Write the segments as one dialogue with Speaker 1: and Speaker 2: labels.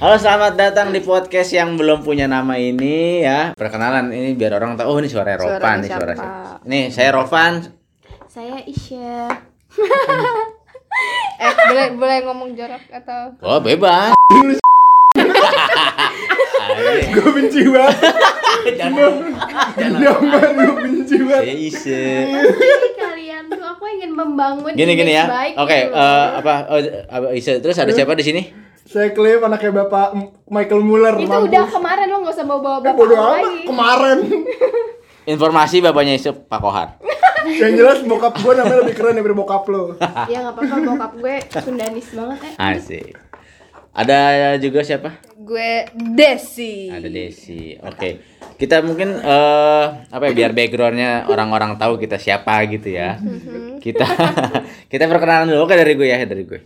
Speaker 1: Halo, selamat datang di podcast yang belum punya nama ini ya. Perkenalan ini biar orang tahu oh ini suara
Speaker 2: Suaranya
Speaker 1: Rovan nih suara
Speaker 2: siapa?
Speaker 1: siapa. Nih, saya Rovan.
Speaker 2: Saya Isya.
Speaker 3: Eh, boleh boleh ngomong jorok atau
Speaker 1: Oh, bebas. Ayo,
Speaker 4: gue benci banget
Speaker 1: Jangan.
Speaker 4: Diam banget gue benci banget
Speaker 1: Saya isi.
Speaker 3: Tapi kalian tuh aku ingin membangun
Speaker 1: Gini
Speaker 3: image
Speaker 1: gini ya.
Speaker 3: baik
Speaker 1: Oke,
Speaker 3: gitu loh.
Speaker 1: eh, apa oh, apa Ise. Terus ada siapa di sini?
Speaker 4: saya klaim anaknya bapak M- Michael Muller
Speaker 3: itu
Speaker 4: mampus.
Speaker 3: udah kemarin lo nggak usah bawa bawa
Speaker 4: Eh,
Speaker 3: bapak
Speaker 4: bodo
Speaker 3: lo
Speaker 4: amat,
Speaker 3: lagi
Speaker 4: kemarin
Speaker 1: Informasi bapaknya Ise Pak Kohar.
Speaker 4: yang jelas bokap gue namanya lebih keren daripada bokap lo
Speaker 3: ya nggak apa-apa bokap gue sundanis banget eh
Speaker 1: Asik. Ada juga siapa?
Speaker 2: Gue Desi.
Speaker 1: Ada Desi. Oke. Kita mungkin eh apa ya biar backgroundnya orang-orang tahu kita siapa gitu ya.
Speaker 3: Mm-hmm.
Speaker 1: kita kita perkenalan dulu oke dari gue ya dari gue.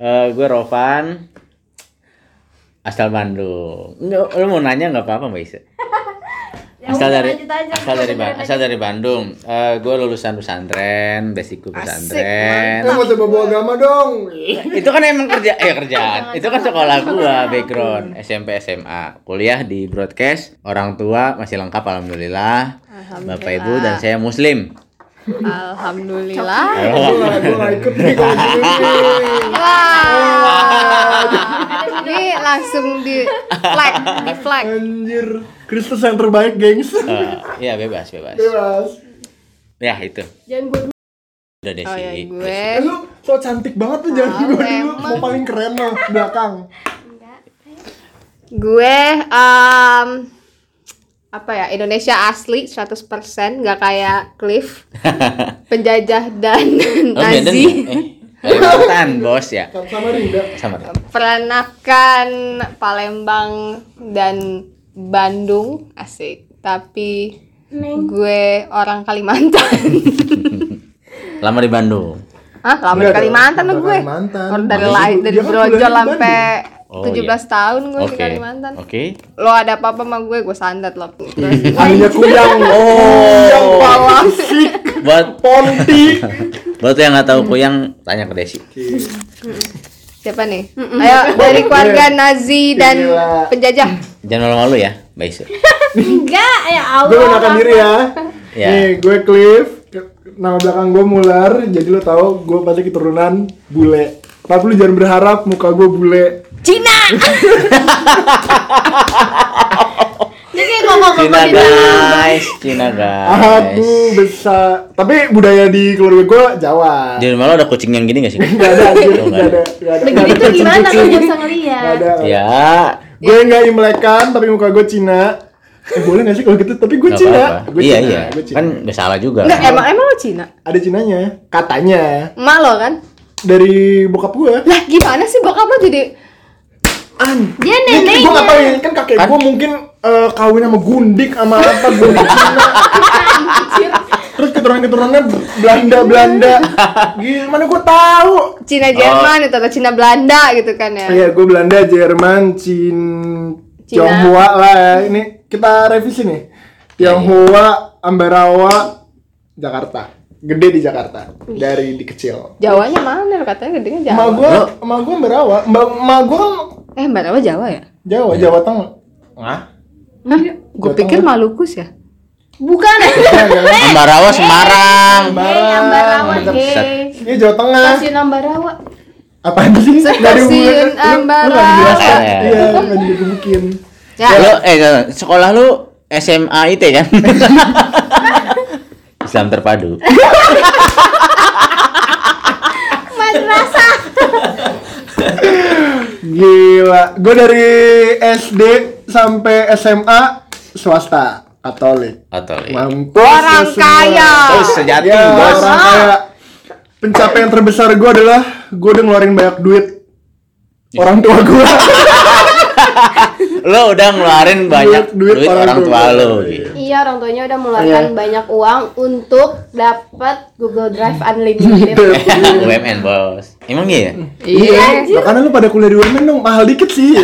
Speaker 1: Eh gue Rovan asal Bandung. Nggak, Lu mau nanya nggak apa-apa Mbak Isa? Asal
Speaker 3: Ya, udah,
Speaker 1: dari
Speaker 3: lanjut aja,
Speaker 1: asal dari Ba-
Speaker 3: lanjut
Speaker 1: asal dari Bandung. Eh gue lulusan pesantren, basicku pesantren.
Speaker 4: eh mau coba bawa agama dong
Speaker 1: itu kan emang kerja eh kerjaan itu kan sekolah gua background SMP SMA kuliah di broadcast orang tua masih lengkap alhamdulillah, bapak ibu dan saya muslim
Speaker 2: Alhamdulillah.
Speaker 4: gue gak, gua gak ikut nih kalau gitu nih.
Speaker 2: Wah. Ini langsung di flag, di flag.
Speaker 4: anjir Kristus yang terbaik gengs
Speaker 1: Eh, ya bebas bebas
Speaker 4: bebas
Speaker 1: ya itu
Speaker 3: jangan gue
Speaker 1: udah desi
Speaker 2: Oh ya gue.
Speaker 4: eh lu so cantik banget tuh jangan gue dulu
Speaker 2: emang.
Speaker 4: mau paling keren lo belakang
Speaker 2: Gue em apa ya Indonesia asli 100% nggak kayak Cliff penjajah iya, dan
Speaker 1: Oh, Medan ya?
Speaker 2: Nazi
Speaker 1: eh, Kalimantan, bos ya
Speaker 4: sama Rinda
Speaker 1: sama
Speaker 2: peranakan Palembang dan Bandung asik tapi
Speaker 3: neng
Speaker 2: gue orang Kalimantan
Speaker 1: lama di Bandung
Speaker 2: Hah, lama di
Speaker 4: Enggak,
Speaker 2: Kalimantan
Speaker 4: orang
Speaker 2: tuh gue.
Speaker 4: Iya Kalimantan.
Speaker 2: Orang dari
Speaker 4: Maksud
Speaker 2: lain
Speaker 4: lu,
Speaker 2: dari
Speaker 4: dia kan
Speaker 2: Brojol
Speaker 4: kuliahnya di
Speaker 2: sampai
Speaker 1: Oh,
Speaker 2: 17
Speaker 1: iya.
Speaker 2: tahun gue
Speaker 1: oke
Speaker 2: di Kalimantan.
Speaker 1: oke
Speaker 2: Lo ada apa-apa sama gue, gue sandat lo. Terus
Speaker 4: Alia Kuyang Kuyang Palasik
Speaker 1: buat
Speaker 4: Ponti
Speaker 1: buat yang nggak tahu kuyang tanya ke Desi
Speaker 2: siapa nih? Ayo dari keluarga Nazi dan
Speaker 4: Iya. Gila.
Speaker 2: penjajah.
Speaker 1: jangan malu-malu ya Mbak Isa
Speaker 3: enggak ya
Speaker 4: gue
Speaker 3: Allah
Speaker 4: kenalkan diri ya.
Speaker 1: Ya.
Speaker 4: Nih, gue Cliff. Nama belakang gue Mular. Jadi lo tahu gue pasti keturunan bule. Tapi lu jangan berharap muka gue bule.
Speaker 3: Cina jadi ngomong
Speaker 1: Cina guys Cina guys
Speaker 4: Aku besar. Tapi budaya di keluarga gue Jawa.
Speaker 1: Jangan malu ada kucing yang gini gak sih
Speaker 4: Gak ada, anjir.
Speaker 1: Oh, nggak
Speaker 4: Nggak ada, nggak ada.
Speaker 3: begini tuh Iya.
Speaker 4: Nggak ada
Speaker 3: gimana gue
Speaker 4: kucing-kucing.
Speaker 3: nggak bisa
Speaker 4: Nggak
Speaker 3: ngeliat
Speaker 4: ada.
Speaker 1: Ya,
Speaker 4: Gue nggak imlekan, tapi muka gue Cina. Eh, boleh gak sih kalau gitu? Tapi gue
Speaker 1: nggak
Speaker 4: Cina.
Speaker 1: apa-apa.
Speaker 4: Gue
Speaker 1: Iya
Speaker 4: Cina,
Speaker 1: iya,
Speaker 4: gue Cina.
Speaker 1: kan nggak salah juga.
Speaker 2: Enggak, emang emang lo Cina?
Speaker 4: Ada Cinanya, katanya.
Speaker 2: Emak lo kan?
Speaker 4: Dari bokap gue.
Speaker 2: Lah gimana sih bokap lo jadi
Speaker 4: An.
Speaker 3: dia
Speaker 4: Ini gue
Speaker 3: neneknya
Speaker 4: ngapain? Kan kakek gue mungkin eh, kawin sama gundik sama apa gundik Cina. Terus keturunan-keturunannya Belanda-Belanda. Gimana gue tahu?
Speaker 2: Cina
Speaker 1: Oh.
Speaker 2: Jerman itu atau Cina Belanda gitu kan ya?
Speaker 4: Iya, gue Belanda, Jerman, Cin
Speaker 2: Cina.
Speaker 4: Tionghoa lah ya. Ini kita revisi nih. Tionghoa, Ambarawa, Jakarta. Gede di Jakarta dari di kecil.
Speaker 2: Jawanya mana lo katanya gedenya Jawa.
Speaker 4: Emak gue, emak gue Ambarawa. Mbak, emak gue kan
Speaker 2: Eh, Mbak Rawa Jawa ya?
Speaker 4: Jawa, Jawa Tengah. Hah?
Speaker 2: Hah? Gue
Speaker 4: Jawa
Speaker 2: pikir
Speaker 4: Tengah.
Speaker 2: Maluku sih ya.
Speaker 3: bukan
Speaker 1: Ambarawa Semarang.
Speaker 3: Hei, Ambarawa,
Speaker 1: Mantap,
Speaker 3: hei.
Speaker 1: set.
Speaker 4: Iya Jawa Tengah.
Speaker 3: Stasiun Ambarawa
Speaker 4: apa sih
Speaker 2: Stasiun
Speaker 4: dari hubungan- lu- lu nggak dijelasin.
Speaker 1: Ambarawa.
Speaker 4: iya nggak digebukin
Speaker 2: Ya.
Speaker 4: Iya.
Speaker 1: Lo eh nggak, sekolah lu SMA IT kan? Islam terpadu.
Speaker 3: madrasah
Speaker 4: gila gue dari SD sampai SMA swasta Katolik
Speaker 1: Katolik.
Speaker 4: mampus
Speaker 2: Orang
Speaker 4: Iya. lu semua.
Speaker 2: kaya.
Speaker 1: Terus sejati
Speaker 4: ya,
Speaker 1: bos.
Speaker 4: orang kaya pencapaian terbesar gue adalah gue udah ngeluarin banyak duit orang tua gue
Speaker 1: Lo udah ngeluarin banyak duit,
Speaker 4: duit orang
Speaker 1: orang tua
Speaker 4: tua.
Speaker 1: lo. gitu.
Speaker 3: Iya, orang tuanya udah mengeluarkan
Speaker 4: Iya.
Speaker 3: banyak uang untuk dapat Google Drive
Speaker 1: Iya.
Speaker 3: unlimited.
Speaker 1: UMN bos. Emang iya. ya?
Speaker 4: iya makanya lu pada kuliah di UMN dong mahal dikit sih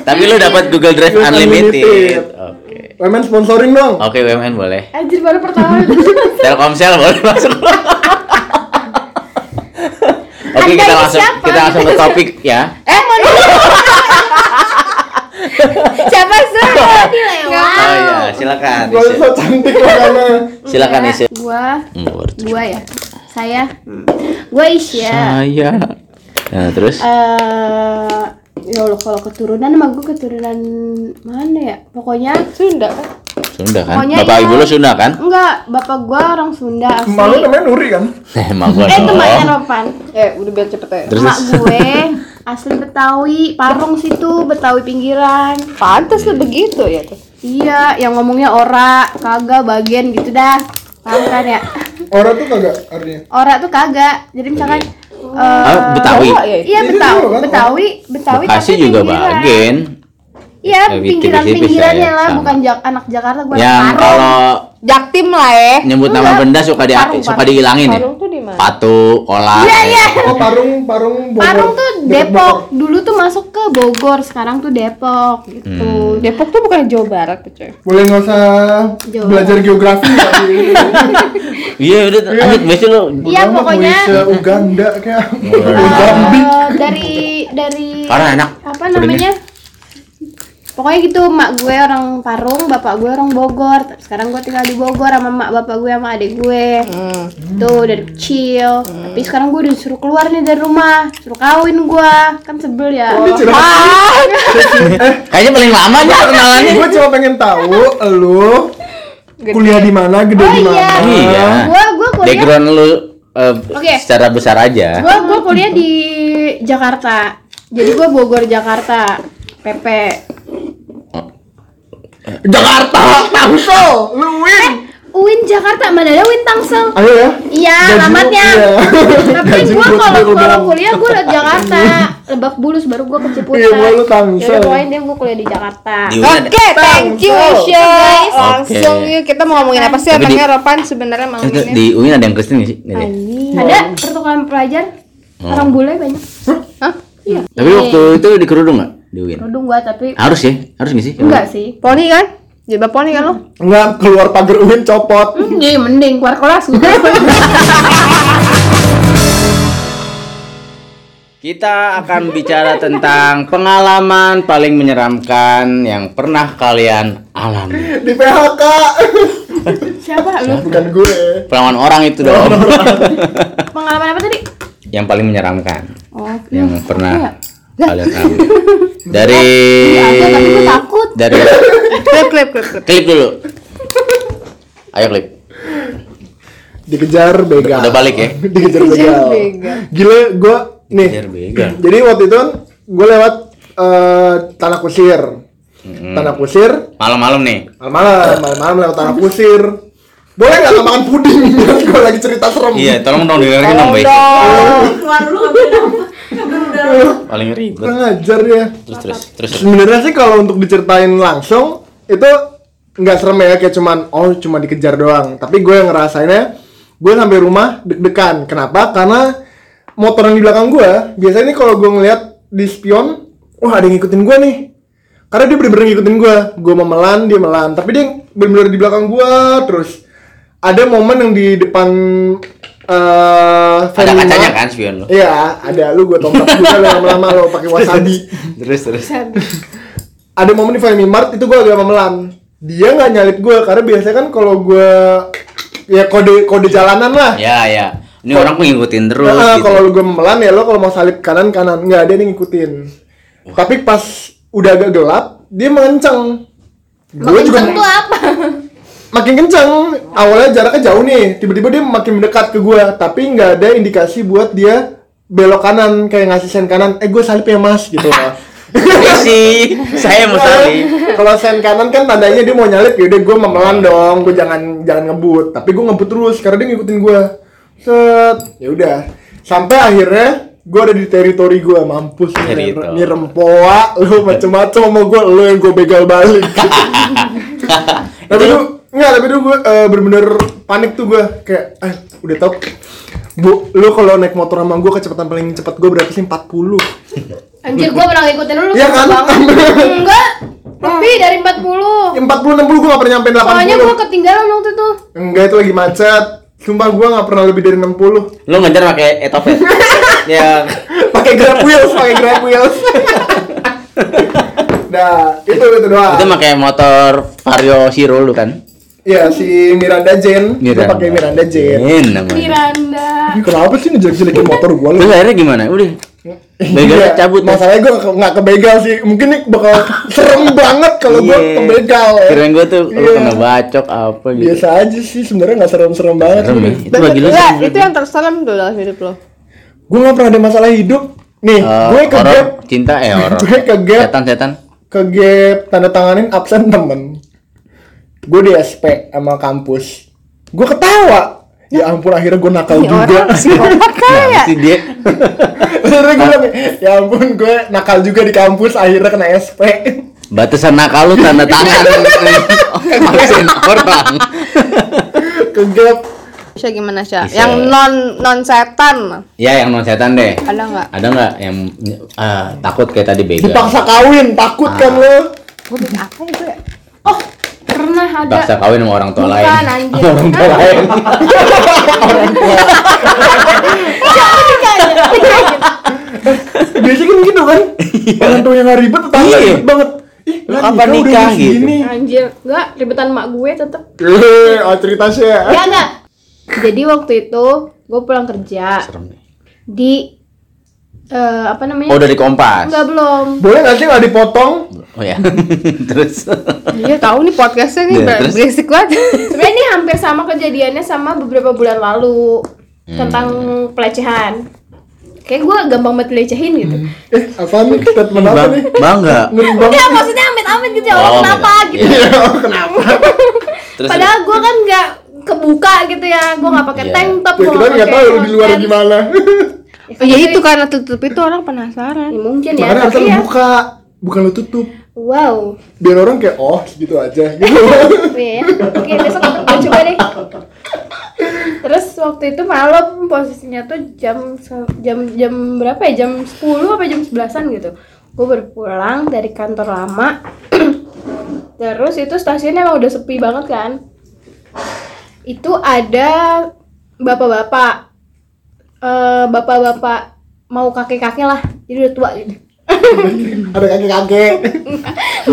Speaker 1: Tapi lo dapat Google Drive
Speaker 4: Google
Speaker 1: unlimited.
Speaker 4: Unlimited.
Speaker 1: Oke.
Speaker 4: UMN sponsorin dong
Speaker 1: Oke UMN boleh.
Speaker 3: Anjir baru pertama.
Speaker 1: Telkomsel boleh masuk. Oke
Speaker 3: Anda
Speaker 1: kita
Speaker 3: ini
Speaker 1: langsung
Speaker 3: siapa?
Speaker 1: kita langsung ke topik ya.
Speaker 2: Eh, mau Siapa sih?
Speaker 3: Tadi
Speaker 2: Nggak.
Speaker 3: lewat.
Speaker 1: Oh iya, silakan.
Speaker 4: Gua so cantik makanya.
Speaker 1: Silakan isi.
Speaker 3: Iya. Gua,
Speaker 1: Enggak berarti.
Speaker 3: gua ya. Saya.
Speaker 1: Hmm.
Speaker 3: Gua Isya.
Speaker 1: Saya. Nah, terus
Speaker 3: Eh, ya Allah kalau keturunan emang gua keturunan mana ya? Pokoknya
Speaker 2: Sunda kan?
Speaker 1: Sunda kan?
Speaker 3: Pokoknya
Speaker 1: Bapak
Speaker 3: iya.
Speaker 1: Ibu lo Sunda kan?
Speaker 3: enggak, bapak gua orang Sunda asli.
Speaker 4: Malu namanya Nuri kan?
Speaker 1: Eh, emang gua
Speaker 3: Eh, temannya
Speaker 1: dong.
Speaker 3: Novan.
Speaker 2: Eh, udah biar cepet ya.
Speaker 1: Terus
Speaker 3: Mak gue asli Betawi, Parung situ, Betawi pinggiran.
Speaker 2: Pantes lu begitu ya tuh.
Speaker 3: Iya, yang ngomongnya ora, kagak, bagian gitu dah. Paham kan ya?
Speaker 4: Orang tuh kagak artinya.
Speaker 3: Ora tuh kagak. Jadi misalkan eh,
Speaker 1: Ah, Betawi.
Speaker 2: Jawa ya itu?
Speaker 3: Iya
Speaker 4: Jadi
Speaker 3: Betawi,
Speaker 4: dulu kan,
Speaker 3: Betawi, Betawi
Speaker 1: Bekasi
Speaker 3: tapi
Speaker 1: juga
Speaker 3: pinggiran.
Speaker 1: bagian.
Speaker 3: Iya,
Speaker 1: Eh, tipis-tipis
Speaker 3: pinggiran-pinggirannya
Speaker 1: ya,
Speaker 3: lah,
Speaker 1: sama.
Speaker 3: bukan Jak- anak Jakarta gue
Speaker 1: Yang kalau
Speaker 2: Jaktim lah ya.
Speaker 1: nyebut nama
Speaker 3: Eh, Enggak.
Speaker 1: benda suka di
Speaker 3: Parung,
Speaker 1: suka
Speaker 3: parung.
Speaker 1: dihilangin ya.
Speaker 2: Parung tuh di mana?
Speaker 1: Patu, Eh, kolak.
Speaker 3: Iya, iya.
Speaker 4: Oh Parung, Parung, Bogor.
Speaker 3: Parung tuh
Speaker 4: Dekat
Speaker 3: Depok. Dulu tuh masuk ke Bogor, sekarang tuh Depok gitu.
Speaker 1: Hmm.
Speaker 2: Depok tuh bukan Jawa Barat tuh, coy.
Speaker 4: Boleh nggak usah
Speaker 3: Jauh.
Speaker 4: belajar geografi nggak sih?
Speaker 1: Iya, udah lanjut Besi lo.
Speaker 3: Iya,
Speaker 4: Bodoh amat,
Speaker 3: pokoknya-
Speaker 4: mau isi Uganda kayak.
Speaker 3: Eh, dari dari
Speaker 1: Parah, enak.
Speaker 3: apa namanya pokoknya gitu mak gue orang Parung bapak gue orang Bogor sekarang gue tinggal di Bogor sama mak bapak gue sama adik gue tuh dari kecil tapi sekarang gue disuruh keluar nih dari rumah suruh kawin gue kan sebel ya
Speaker 4: Ini curhat.
Speaker 1: Kayaknya paling lama aja kenalannya.
Speaker 4: Gue cuma pengen tahu lu kuliah di mana, gede
Speaker 3: Oh,
Speaker 4: di mana.
Speaker 3: iya.
Speaker 1: Iya.
Speaker 3: gue gue kuliah
Speaker 1: Background lu eh,
Speaker 3: Oke.
Speaker 1: secara besar aja.
Speaker 3: gue gue kuliah di Jakarta jadi gue Bogor Jakarta PP
Speaker 1: Jakarta.
Speaker 4: Tangsel, lu win.
Speaker 3: Eh, Uin Jakarta mana ada Uin Tangsel
Speaker 4: Ayo ya.
Speaker 3: Iya,
Speaker 4: Gaji lu-
Speaker 3: alamatnya.
Speaker 4: iya.
Speaker 3: Tapi
Speaker 4: Gaji
Speaker 3: gue
Speaker 4: gua
Speaker 3: kalau
Speaker 4: baru
Speaker 3: kalau
Speaker 4: doang.
Speaker 3: kuliah gue liat Jakarta, Lebak Bulus baru gue ke Ciputat.
Speaker 4: Iya, gua lu
Speaker 3: Yaudah,
Speaker 4: Tangsel.
Speaker 3: pokoknya dia gue kuliah di Jakarta.
Speaker 1: Di-
Speaker 2: Oke, thank you Isya. Langsung
Speaker 1: Oke.
Speaker 2: yuk kita mau ngomongin apa sih?
Speaker 1: Tapi di-
Speaker 2: Abangnya Ropan sebenarnya malam
Speaker 1: Itu
Speaker 2: ini.
Speaker 1: di UIN ada yang Kristen nggak sih?
Speaker 3: Oh,
Speaker 1: Nggak ada ya?
Speaker 3: Ada pertukaran pelajar,
Speaker 1: Oh.
Speaker 3: orang bule banyak.
Speaker 2: Hah?
Speaker 1: Tapi
Speaker 3: Iya.
Speaker 1: waktu itu dikerudung nggak di UIN?
Speaker 3: Kerudung gue tapi
Speaker 1: Harus ya, harus nggak sih?
Speaker 3: enggak sih.
Speaker 2: Poni kan? Jilbab poni kan lo?
Speaker 4: Enggak keluar pagar Uin copot.
Speaker 3: Iya, mending keluar kelas udah.
Speaker 1: Kita akan bicara tentang pengalaman paling menyeramkan yang pernah kalian alami.
Speaker 4: Di PHK.
Speaker 3: Siapa lu?
Speaker 4: Bukan gue.
Speaker 1: Pengalaman orang itu dong.
Speaker 3: Pengalaman apa tadi?
Speaker 1: yang paling menyeramkan
Speaker 3: Oh,
Speaker 1: yang pernah kalian alami. Dari
Speaker 3: Iya, tapi gue takut.
Speaker 1: dari
Speaker 2: Klip klip klip klip.
Speaker 1: klip dulu. Ayo klip.
Speaker 4: Dikejar begal.
Speaker 1: Udah balik ya?
Speaker 4: Dikejar begal.
Speaker 2: begal.
Speaker 4: Gila gue nih.
Speaker 1: Biar bega.
Speaker 4: Jadi waktu itu gue lewat eh, tanah kusir.
Speaker 1: Hmm.
Speaker 4: Tanah kusir.
Speaker 1: Malam-malam nih. Iya.
Speaker 4: Malam-malam, malam-malam lewat tanah kusir. Boleh nggak lo makan puding? gue lagi cerita serem.
Speaker 1: Iya, tolong dong dengerin dong, baik.
Speaker 3: Keluar lu ambil
Speaker 1: Paling ribet.
Speaker 4: Kurang ajar ya.
Speaker 1: Terus terus terus. terus.
Speaker 4: Sebenarnya sih kalau untuk diceritain langsung itu nggak serem ya kayak cuman oh cuma dikejar doang. Tapi gue yang ngerasainnya gue sampai rumah deg-degan. Kenapa? Karena motor yang di belakang gue biasanya nih kalau gue ngeliat di spion, wah ada yang ngikutin gue nih. Karena dia bener-bener ngikutin gue. Gue mau melan, dia melan. Tapi dia bener-bener di belakang gue terus. Ada momen yang di depan eh
Speaker 1: Ada
Speaker 4: Venue
Speaker 1: kacanya
Speaker 4: Mart.
Speaker 1: kan spion lo.
Speaker 4: Iya, ada lu gue tongkat juga lu lama-lama lo pakai wasabi
Speaker 1: Terus terus.
Speaker 4: ada momen di Family Mart itu gue agak memelan dia nggak nyalip gue karena biasanya kan kalau gue ya kode kode jalanan lah
Speaker 1: Ya ya. Ini orang kok ngikutin terus
Speaker 4: Nah,
Speaker 1: gitu.
Speaker 4: kalau gue memelan ya lo kalau mau salip kanan kanan nggak ada yang ngikutin tapi pas udah agak gelap dia mengencang gue juga
Speaker 3: Kenceng tuh apa?
Speaker 4: makin kencang awalnya jaraknya jauh nih tiba-tiba dia makin mendekat ke gua tapi nggak ada indikasi buat dia belok kanan kayak ngasih sen kanan eh gue salip ya mas gitu loh
Speaker 1: Iya sih. Saya mau salib.
Speaker 4: kalau sen kanan kan tandanya dia mau nyalip yaudah gue memelan dong gue jangan jangan ngebut tapi gue ngebut terus karena dia ngikutin gue set ya udah sampai akhirnya gue ada di teritori gue mampus nih
Speaker 1: Teritori.
Speaker 4: Nih rempoa lu macem-macem sama gue lu yang gue begal balik tapi
Speaker 1: Itu-
Speaker 4: tuh nggak tapi tuh gue eh, bener-bener panik tuh gue kayak eh udah tau bu lu kalau naik motor sama gue kecepatan paling cepat gue berapa sih 40
Speaker 3: Anjir, gue pernah ngikutin lu. lu
Speaker 4: Iya
Speaker 3: kenceng
Speaker 4: kan? Hmm.
Speaker 3: banget. Enggak. Lebih dari 40.
Speaker 4: Ya, 40 60 gue gak pernah nyampein 80
Speaker 3: Soalnya gue ketinggalan waktu itu.
Speaker 1: Iya.
Speaker 4: Enggak itu lagi macet. Sumpah gua nggak pernah lebih dari 60.
Speaker 1: Lu ngejar pakai etofet. ya.
Speaker 4: Pakai Grab Wheels, pakai Grab Wheels. Nah, itu itu doang.
Speaker 1: Itu pakai motor Vario Siro lu kan?
Speaker 4: Iya, si Miranda Jane. Dia pakai Miranda Jane.
Speaker 1: Jane Iya, namanya.
Speaker 3: Miranda.
Speaker 4: Ini kenapa sih ngejelek-jelekin motor gua lu?
Speaker 1: Terus akhirnya gimana? Udah. Begalnya Iya.
Speaker 4: Iya,
Speaker 1: cabut.
Speaker 4: Masalahnya gua ke- nggak kebegal sih. Mungkin nih bakal serem banget kalau gua
Speaker 1: Iya.
Speaker 4: kebegal. ya.
Speaker 1: Kirain gua tuh lu
Speaker 4: Iya.
Speaker 1: kena bacok apa gitu.
Speaker 4: Biasa aja sih, sebenarnya nggak serem-serem banget.
Speaker 1: Serem ya? Itu bagi lu Oh,
Speaker 2: Nggak,
Speaker 1: serem
Speaker 2: itu yang terserem tuh dalam hidup lo.
Speaker 4: Gue nggak pernah ada masalah hidup. Nih,
Speaker 1: Eh,
Speaker 4: gue ke
Speaker 1: horor,
Speaker 4: gap,
Speaker 1: cinta eh horor.
Speaker 4: Gue ke gap.
Speaker 1: Setan-setan.
Speaker 4: ke gap tanda tanganin absen temen. Gue di SP sama kampus. Gue ketawa. Ya ampun, akhirnya gue nakal
Speaker 2: Ini
Speaker 4: juga.
Speaker 2: orang psikopat kan?
Speaker 1: Nah,
Speaker 2: kayak.
Speaker 1: si dia
Speaker 4: Akhirnya gue bilang, ya ampun gue nakal juga di kampus akhirnya kena SP.
Speaker 1: batasan nakal lu tanda tangan. Vaksin orang.
Speaker 4: Ke gap.
Speaker 2: Bisa gimana sih?
Speaker 1: Bisa.
Speaker 2: Yang non non setan
Speaker 1: Ya yang non setan deh.
Speaker 2: ada nggak?
Speaker 1: Ada nggak yang ah, takut kayak tadi begal?
Speaker 4: Dipaksa kawin, takut kan lo.
Speaker 2: Gue apa itu ya?
Speaker 3: Oh, pernah ada
Speaker 1: Dipaksa kawin sama orang tua lain.
Speaker 3: Bukan, anjir.
Speaker 1: Sama orang tua lain.
Speaker 4: Biasanya kan gitu kan. Orang tuanya nggak ribet, tetangga
Speaker 1: Iya.
Speaker 4: ribet banget. Ih,
Speaker 1: Lu
Speaker 4: lah,
Speaker 1: kapan
Speaker 4: udah
Speaker 1: nikah
Speaker 4: di sini.
Speaker 3: Anjir, enggak ribetan mak gue tetep
Speaker 4: Eh, oh cerita sih. ya.
Speaker 3: Ya enggak Jadi waktu itu gue pulang kerja
Speaker 1: Serem nih.
Speaker 3: Di eh, Apa
Speaker 1: Oh
Speaker 3: namanya?
Speaker 1: dari kompas.
Speaker 3: Enggak belum
Speaker 4: Boleh nggak sih nggak dipotong?
Speaker 1: Oh ya. Terus.
Speaker 2: Iya tahu nih podcastnya nih
Speaker 1: Iya,
Speaker 2: ber-
Speaker 1: terus?
Speaker 2: berisik banget.
Speaker 3: Sebenarnya ini hampir sama kejadiannya sama beberapa bulan lalu
Speaker 1: Hmm.
Speaker 3: Tentang pelecehan Kayak gue gampang banget dilecehin gitu
Speaker 1: Hmm.
Speaker 4: Eh, apa nih? Statement apa
Speaker 1: Bang,
Speaker 4: nih?
Speaker 1: bangga.
Speaker 4: Ngeri banget.
Speaker 3: Enggak maksudnya amit-amit gitu ya Allah
Speaker 1: Oh,
Speaker 3: kenapa
Speaker 1: enggak.
Speaker 3: gitu
Speaker 1: Iya.
Speaker 4: Kenapa?
Speaker 1: Terus.
Speaker 3: Padahal gue kan enggak kebuka gitu ya Gue gak pakai
Speaker 1: Iya.
Speaker 3: tank top
Speaker 4: Ya
Speaker 3: gua
Speaker 4: kita nggak
Speaker 3: pakai Iya,
Speaker 4: tahu lu di luar
Speaker 3: short pants.
Speaker 4: gimana.
Speaker 2: Oh, ya itu karena tutup itu orang
Speaker 3: Ya, kan.
Speaker 2: penasaran.
Speaker 3: mungkin ya,
Speaker 4: Makanya harus
Speaker 3: tapi
Speaker 4: lu
Speaker 3: ya.
Speaker 4: buka, bukan lu tutup.
Speaker 3: Wow.
Speaker 4: Biar orang kayak oh gitu aja. Gitu.
Speaker 3: Iya. ya. Oke, besok gue coba deh. Terus waktu itu malam posisinya tuh jam se- jam jam berapa ya? Jam 10 apa jam 11-an gitu. Gue berpulang dari kantor lama. Terus itu stasiunnya emang udah sepi banget kan. Itu ada bapak-bapak eh, bapak-bapak mau kakek-kakek lah. Jadi udah tua gitu.
Speaker 4: Ada kakek-kakek.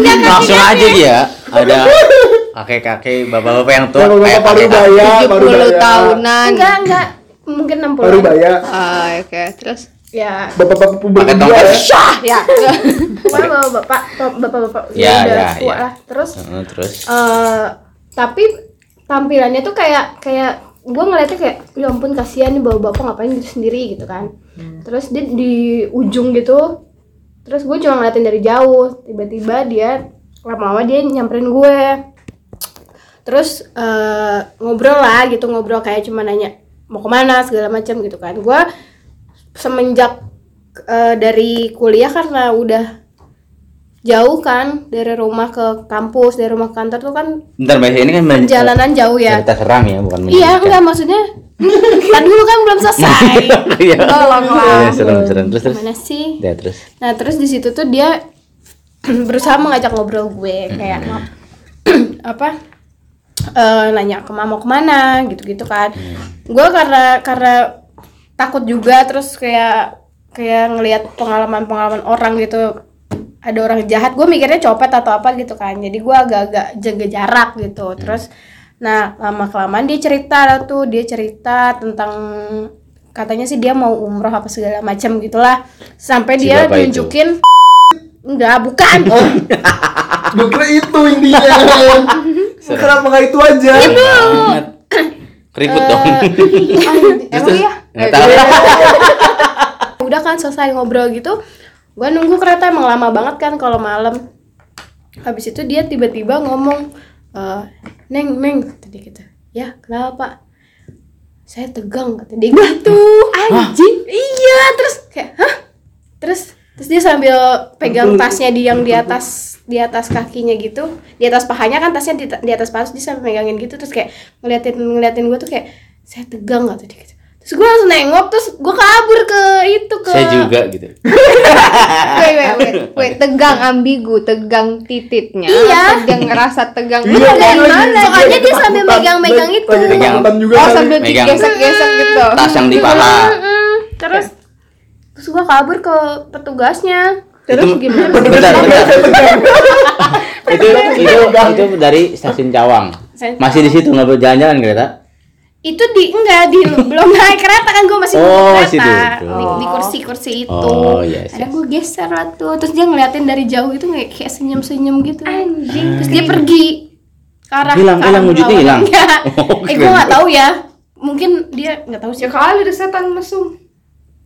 Speaker 1: Langsung aja dia. Ada kakek-kakek, bapak-bapak yang tua. Eh,
Speaker 4: Bapak-bapak
Speaker 1: kayak
Speaker 4: baru
Speaker 1: kakek-
Speaker 4: bayar, Iya, baru
Speaker 2: 70
Speaker 4: bayar.
Speaker 2: tahunan.
Speaker 3: Enggak, enggak. Mungkin 60.
Speaker 4: Baru bayar.
Speaker 2: Ah, oke. Terus
Speaker 3: Ya,
Speaker 4: Bapak-bapak puber
Speaker 1: Pakai
Speaker 4: kedua
Speaker 1: tongkat.
Speaker 4: ya.
Speaker 2: syah ya.
Speaker 3: Pokoknya bapak-bapak, bapak-bapak
Speaker 1: Ya,
Speaker 3: udah
Speaker 1: ya,
Speaker 3: tua
Speaker 1: ya.
Speaker 3: lah. Terus,
Speaker 1: Heeh, Terus.
Speaker 3: eh, tapi tampilannya tuh kayak kayak gue ngeliatnya kayak, ya ampun kasihan nih bapak-bapak ngapain gitu sendiri gitu kan. Terus dia di ujung gitu, terus gue cuma ngeliatin dari jauh. Tiba-tiba dia lama-lama dia nyamperin gue. Terus eh, ngobrol lah gitu ngobrol kayak cuma nanya mau kemana segala macam gitu kan. Gue semenjak eh, dari kuliah karena udah jauh kan dari rumah ke kampus dari rumah ke kantor tuh kan
Speaker 1: Bentar, Mbak, ini kan men-
Speaker 3: perjalanan jauh ya
Speaker 1: cerita seram ya, bukan
Speaker 3: iya
Speaker 1: mendidikan.
Speaker 3: enggak maksudnya kan dulu kan belum selesai
Speaker 1: Iya.
Speaker 3: tolonglah
Speaker 1: Iya, serem, serem. Terus terus.
Speaker 3: gimana sih
Speaker 1: Ya, terus.
Speaker 3: nah terus di situ tuh dia berusaha mengajak ngobrol gue kayak "Ngap- apa eh, nanya ke mama mau kemana gitu-gitu kan
Speaker 1: Hmm.
Speaker 3: gue karena karena takut juga terus kayak kayak ngelihat pengalaman-pengalaman orang gitu ada orang jahat gue mikirnya copet atau apa gitu kan jadi gue agak-agak jaga jarak gitu
Speaker 1: Hmm.
Speaker 3: terus nah lama kelamaan dia cerita lah tuh dia cerita tentang katanya sih dia mau umroh apa segala macam gitulah sampai
Speaker 1: Si bapak
Speaker 3: dia
Speaker 1: itu? Oh,
Speaker 3: nunjukin enggak bukan Eh,
Speaker 4: Gue kira itu intinya. ya. Kenapa nggak itu aja?
Speaker 1: Iya.
Speaker 4: Iya,
Speaker 1: Banget. Keriput dong.
Speaker 3: oh, emang Eh, iya
Speaker 1: Enggak tahu.
Speaker 3: udah kan selesai ngobrol gitu gua nunggu kereta emang lama banget kan kalau malam habis itu dia tiba-tiba ngomong eh, neng neng tadi gitu ya kenapa saya tegang kata dia gitu anjing iya terus kayak hah terus terus dia sambil pegang tasnya di yang di atas di atas kakinya gitu di atas pahanya kan tasnya di, di atas paha terus dia sambil megangin gitu terus kayak ngeliatin ngeliatin gue tuh kayak saya tegang nggak tadi gitu terus gue langsung nengok terus gue kabur ke itu ke
Speaker 1: Saya juga gitu.
Speaker 2: Wait, wait, wait, wait. Tegang ambigu, tegang titiknya.
Speaker 3: Iya.
Speaker 2: Tegang rasa tegang.
Speaker 4: Iya,
Speaker 2: Tegang
Speaker 4: lagi-
Speaker 2: mana?
Speaker 3: Soalnya dia
Speaker 4: ketakutan.
Speaker 3: sambil megang-megang
Speaker 4: Lagi-
Speaker 3: itu.
Speaker 4: Lagi
Speaker 1: Megang.
Speaker 4: ketakutan juga
Speaker 2: Oh,
Speaker 4: kali.
Speaker 2: sambil
Speaker 1: Megang.
Speaker 2: digesek-gesek gitu.
Speaker 3: Iya.
Speaker 1: Tas yang di paha.
Speaker 3: Mm-mm. terus terus gue kabur ke petugasnya
Speaker 2: Terus
Speaker 1: Itu-
Speaker 2: gimana?
Speaker 1: Bentar, bentar. itu itu
Speaker 4: Pegang.
Speaker 1: itu dari stasiun Cawang.
Speaker 3: Stasiun
Speaker 1: Masih di situ nggak jalan-jalan kereta?
Speaker 3: itu di enggak di belum naik kereta kan gue masih
Speaker 1: Oh,
Speaker 3: nunggu
Speaker 1: masih
Speaker 3: kereta
Speaker 1: duduk.
Speaker 3: di, di kursi-kursi itu
Speaker 1: Oh, yes,
Speaker 3: ada
Speaker 1: yes.
Speaker 3: gue geser lah tuh terus dia ngeliatin dari jauh itu kayak, kayak senyum-senyum gitu anjing terus dia pergi ke arah
Speaker 1: Hilang,
Speaker 3: ke arah
Speaker 1: hilang, wujudnya
Speaker 3: bawah.
Speaker 1: hilang.
Speaker 3: Enggak.
Speaker 1: Oh,
Speaker 3: eh gue
Speaker 1: keren.
Speaker 3: nggak tahu ya mungkin dia nggak tahu sih
Speaker 2: Ya kali ada setan mesum.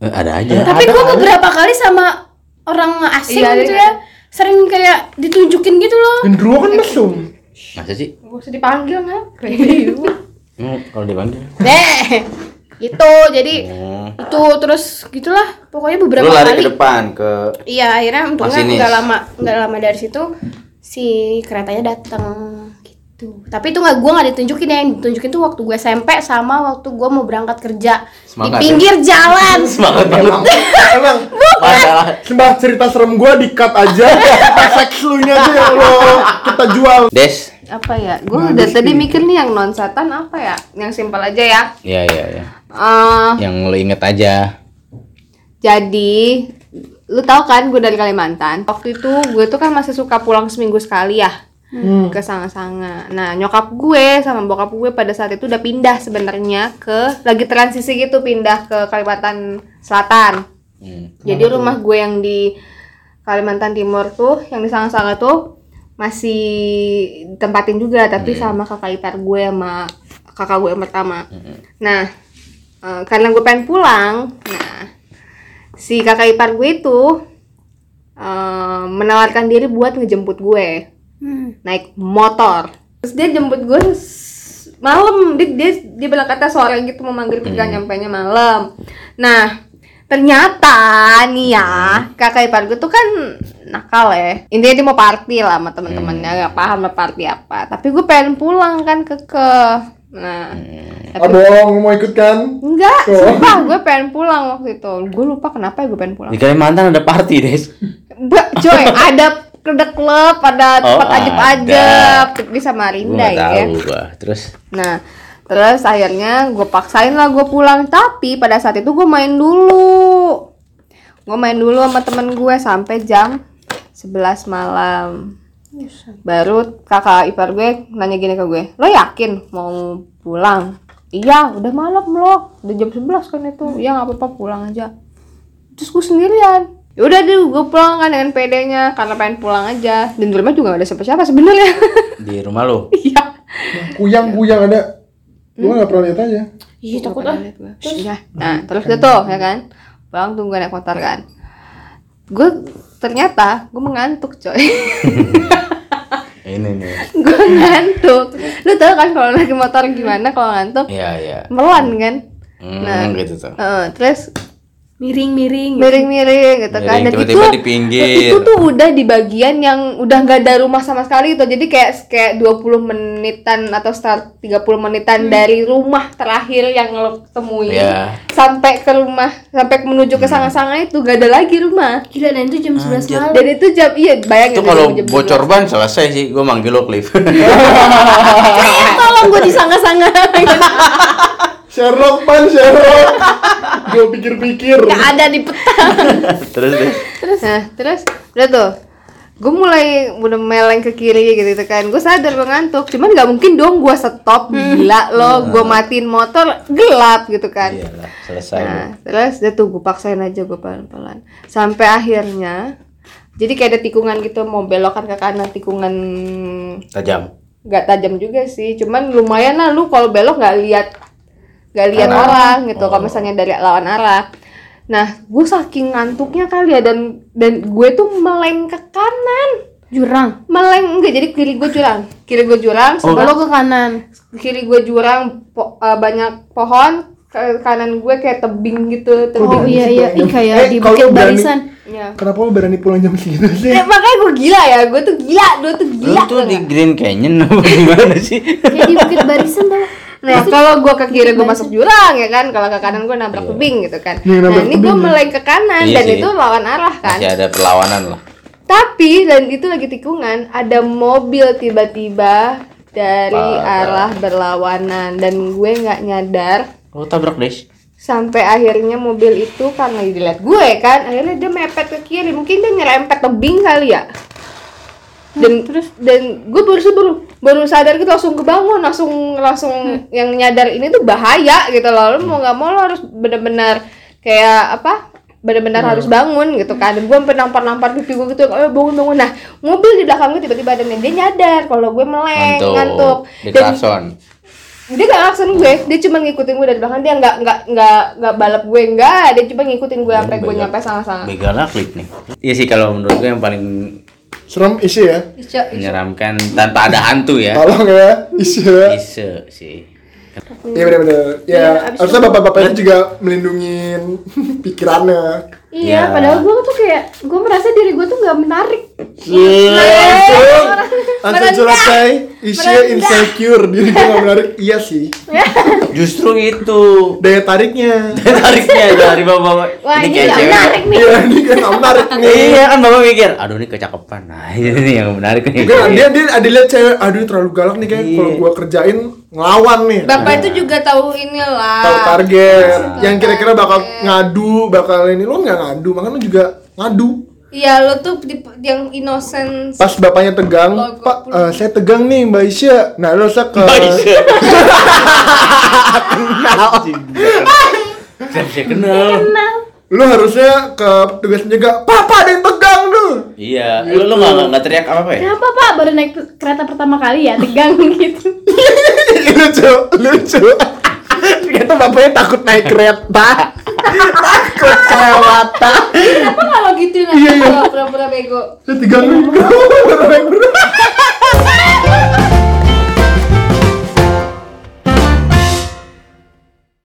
Speaker 1: Eh, ada aja.
Speaker 3: tapi gue beberapa kali sama orang asing
Speaker 2: Iya,
Speaker 3: gitu ya
Speaker 2: iya.
Speaker 3: sering kayak ditunjukin gitu loh
Speaker 4: Gendruwo kan mesum.
Speaker 1: Masa sih?
Speaker 2: Gak usah dipanggil nggak? Kayak
Speaker 1: Emang kalau dipanggil.
Speaker 3: deh gitu jadi
Speaker 1: Oh.
Speaker 3: itu terus gitulah pokoknya
Speaker 1: Lu
Speaker 3: beberapa
Speaker 1: lari
Speaker 3: kali
Speaker 1: ke depan ke
Speaker 3: Iya akhirnya untungnya
Speaker 1: Masinis.
Speaker 3: nggak lama nggak lama dari situ si keretanya datang gitu. Tapi itu nggak gue nggak ditunjukin ya yang ditunjukin tuh waktu gue SMP sama waktu gue mau berangkat kerja
Speaker 1: Semangat, ya.
Speaker 3: di pinggir jalan.
Speaker 1: semangat banget.
Speaker 4: Emang
Speaker 1: Masalah.
Speaker 4: sembah cerita serem gua di cut aja. Seks lunya aja yang lo kita jual.
Speaker 1: Des.
Speaker 2: apa ya? Gue udah tadi mikir nih yang non setan apa ya? Yang simpel aja ya.
Speaker 1: Iya, iya, iya.
Speaker 2: Eh,
Speaker 1: Yang lu inget aja.
Speaker 2: jadi lu tahu kan gue dari Kalimantan. Waktu itu gue tuh kan masih suka pulang seminggu sekali ya ke Sanga-Sanga. Nah nyokap gue sama bokap gue pada saat itu udah pindah sebenarnya ke lagi transisi gitu pindah ke Kalimantan Selatan.
Speaker 1: Hmm.
Speaker 2: Jadi rumah gue yang di Kalimantan Timur tuh, yang di Sanga-Sanga tuh masih ditempatin juga, tapi sama kakak ipar gue sama kakak gue yang pertama. Nah, eh, karena gue pengen pulang, nah si kakak ipar gue itu eh, menawarkan diri buat ngejemput gue naik motor. Hmm. Terus dia jemput gue s- malam, dia, dia, dia bilang kata sore gitu mau manggil tapi nyampe nya malam. Nah, ternyata nih ya, kakak ipar gue tuh kan nakal ya. Intinya dia mau party lah sama teman-temannya, nggak paham lah party apa. Tapi gue pengen pulang kan ke ke. Nah,
Speaker 4: Ah bohong mau ikut kan?
Speaker 2: enggak,
Speaker 4: Oh.
Speaker 2: sumpah gue pengen pulang waktu itu. Gue lupa kenapa ya gue pengen pulang.
Speaker 1: Di Kalimantan ada party, Des.
Speaker 2: Ba- coy, ada ada klub, ada
Speaker 1: Oh,
Speaker 2: tempat ajeb-ajeb
Speaker 1: ada.
Speaker 2: di
Speaker 1: Gua
Speaker 2: Samarinda
Speaker 1: nggak
Speaker 2: ya.
Speaker 1: tahu gua. Terus
Speaker 2: Nah, terus akhirnya gue paksain lah gue pulang. Tapi pada saat itu gue main dulu. Gue main dulu sama temen gue sampai jam 11 malam. Baru kakak ipar gue nanya gini ke gue, lo yakin mau pulang? Iya, udah malam loh, udah jam 11 kan itu. Ya nggak apa-apa pulang aja. Terus gue sendirian. Ya udah deh, gue pulang kan dengan pedenya karena pengen pulang aja. Dan di rumah juga gak ada siapa-siapa sebenarnya.
Speaker 1: di rumah lu.
Speaker 2: Iya.
Speaker 4: Kuyang-kuyang ada.
Speaker 3: Hmm?
Speaker 4: Gua nggak pernah lihat aja.
Speaker 3: Iya takut ah.
Speaker 2: Iya. Nah, terus itu tuh ya kan. Pulang tunggu naik motor kan. Gue ternyata gue mengantuk coy.
Speaker 1: Ini nih.
Speaker 2: gue ngantuk. Lu tau kan kalau lagi motor gimana kalau ngantuk?
Speaker 1: Iya, iya.
Speaker 2: Melan kan.
Speaker 1: Hmm,
Speaker 2: Nah.
Speaker 1: gitu tuh.
Speaker 2: Heeh, terus
Speaker 3: Miring-miring.
Speaker 2: miring-miring gitu kan
Speaker 1: Miring,
Speaker 2: dan
Speaker 1: tiba-tiba
Speaker 2: itu
Speaker 1: di pinggir.
Speaker 2: itu tuh udah di bagian yang udah nggak ada rumah sama sekali tuh jadi kayak kayak 20 menitan atau start 30 menitan dari rumah terakhir yang lo
Speaker 1: Iya.
Speaker 2: ketemuin
Speaker 1: Hmm.
Speaker 2: sampai ke rumah sampai menuju ke sangat-sangat itu gak ada lagi rumah
Speaker 3: ah. Gila dan itu jam 11
Speaker 1: Anjir.
Speaker 3: malam.
Speaker 2: dan itu jam iya bayangin
Speaker 1: Itu
Speaker 2: dari
Speaker 1: kalau
Speaker 2: jam
Speaker 1: bocor ban selesai sih, gua manggil lo Cliff.
Speaker 3: Tolong gue disangka-sangka. Gitu.
Speaker 4: Sherlock pan Sherlock. Gua pikir-pikir.
Speaker 3: Gak ada di peta.
Speaker 1: Terus deh.
Speaker 2: terus nah terus udah tuh gue mulai udah meleng ke kiri gitu, gitu kan gue sadar gue ngantuk cuman nggak mungkin dong gue stop gila lo gue matiin motor gelap gitu kan
Speaker 1: Iyalah, Iya, selesai.
Speaker 2: nah terus udah tuh gue paksain aja gue pelan-pelan sampai akhirnya jadi kayak ada tikungan gitu mau belokan ke kanan tikungan
Speaker 1: Tajam.
Speaker 2: nggak tajam juga sih cuman lumayan lah lu kalau belok nggak lihat nggak lihat
Speaker 1: Arah.
Speaker 2: orang gitu kalau
Speaker 1: Oh.
Speaker 2: misalnya dari lawan arah nah gue saking ngantuknya kali ya dan dan gue tuh meleng ke kanan
Speaker 3: Jurang.
Speaker 2: meleng enggak jadi kiri gue jurang kiri gue jurang
Speaker 1: Oh,
Speaker 3: Belok
Speaker 2: sebelah
Speaker 3: ke kanan.
Speaker 2: kiri gue jurang po- eh, banyak pohon ke kanan gue kayak tebing gitu tebing
Speaker 3: Oh iya iya, Ih,
Speaker 4: Eh,
Speaker 3: kayak di
Speaker 4: kalau
Speaker 3: bukit
Speaker 4: berani-
Speaker 3: barisan.
Speaker 2: Ya.
Speaker 4: Kenapa lo berani pulang jam segitu sih?
Speaker 2: Eh, makanya gue gila ya gue tuh gila gue tuh
Speaker 1: Lu
Speaker 2: gila
Speaker 1: tuh
Speaker 2: tau
Speaker 1: di
Speaker 2: nggak?
Speaker 1: Green Canyon apa gimana sih?
Speaker 3: Kayak di bukit barisan tuh.
Speaker 2: Nah, kalau gua ke kiri gua masuk jurang ya kan, kalau ke kanan gua nabrak tebing gitu kan.
Speaker 4: Iya,
Speaker 2: Nah,
Speaker 4: nabrak
Speaker 2: ini gua
Speaker 4: tebing, ya.
Speaker 2: meleng ke kanan
Speaker 1: Iya
Speaker 2: dan
Speaker 1: sih.
Speaker 2: itu lawan arah kan.
Speaker 1: Masih ada perlawanan lah.
Speaker 2: Tapi dan itu lagi tikungan, ada mobil tiba-tiba dari
Speaker 1: Parah.
Speaker 2: arah berlawanan dan gue nggak nyadar
Speaker 1: Lu tabrak Des.
Speaker 2: sampai akhirnya mobil itu karena dilihat gue kan akhirnya dia mepet ke kiri mungkin dia nyerempet tebing kali ya
Speaker 1: Hmm,
Speaker 2: dan terus dan gue baru baru baru sadar gitu langsung kebangun langsung langsung
Speaker 1: Hmm.
Speaker 2: yang nyadar ini tuh bahaya gitu loh lo mau nggak mau lo harus benar-benar kayak apa benar-benar harus
Speaker 1: Hmm.
Speaker 2: bangun gitu kan gue sampai nampar-nampar pipi gue gitu eh bangun bangun nah mobil di belakang gue tiba-tiba ada dia nyadar kalau gue meleng
Speaker 1: Ngantuk.
Speaker 2: Eh, ngantuk
Speaker 1: Di
Speaker 2: dan
Speaker 1: klakson.
Speaker 2: dia gak ngaksen gue dia cuma ngikutin gue dari belakang dia nggak nggak nggak nggak balap gue nggak dia cuma ngikutin
Speaker 1: Iya,
Speaker 2: gue sampai gue nyampe sama-sama
Speaker 1: Begalnya klik nih. Iya sih kalau menurut gue yang paling
Speaker 4: Serem isi ya.
Speaker 1: menyeramkan tanpa ada hantu ya.
Speaker 4: Tolong ya, isi ya.
Speaker 1: Bisa sih.
Speaker 4: Iya benar-benar. Ya, harusnya bapak-bapak itu juga melindungi pikirannya.
Speaker 3: Iya,
Speaker 1: Ya.
Speaker 3: padahal gue tuh kayak gue merasa diri gue tuh nggak menarik.
Speaker 4: Iya, langsung langsung curhat saya isi insecure diri gue gak menarik iya sih
Speaker 1: Justru itu
Speaker 4: daya tariknya
Speaker 1: tariknya dari bawa-bawa.
Speaker 3: Wah ini
Speaker 1: kayak
Speaker 3: nggak
Speaker 1: cewek.
Speaker 3: menarik nih.
Speaker 4: iya ini kan gak menarik nih
Speaker 1: Iya kan bapak mikir, aduh ini kecakepan. Nah ini nih yang menarik nih.
Speaker 4: Mungkin dia dia ada lihat cewek aduh terlalu galak nih kayak
Speaker 1: Iya.
Speaker 4: kalau gua kerjain ngelawan nih
Speaker 2: bapak itu juga tahu inilah
Speaker 4: tahu target yang kira-kira bakal ngadu bakal ini lo nggak ngadu makanya lo juga ngadu
Speaker 2: Iya lo tuh tipe yang innocent
Speaker 4: pas bapaknya tegang
Speaker 2: Logo
Speaker 4: pak eh, saya tegang nih mbak Isya nah lo sak ke
Speaker 1: Bisa. iya. Kenal. Siapa sih kenal?
Speaker 4: lo harusnya ke tugas penjaga papa ada yang tegang tuh
Speaker 1: Iya, lu lu nggak nggak teriak apa apa ya?
Speaker 3: Kenapa pak baru naik pe- kereta pertama kali ya tegang gitu?
Speaker 4: lucu lucu ternyata bapaknya takut naik kereta takut kelewatan
Speaker 1: Iya,
Speaker 2: Kenapa kalau gitu nah? Pura-pura bego
Speaker 4: saya tegang nih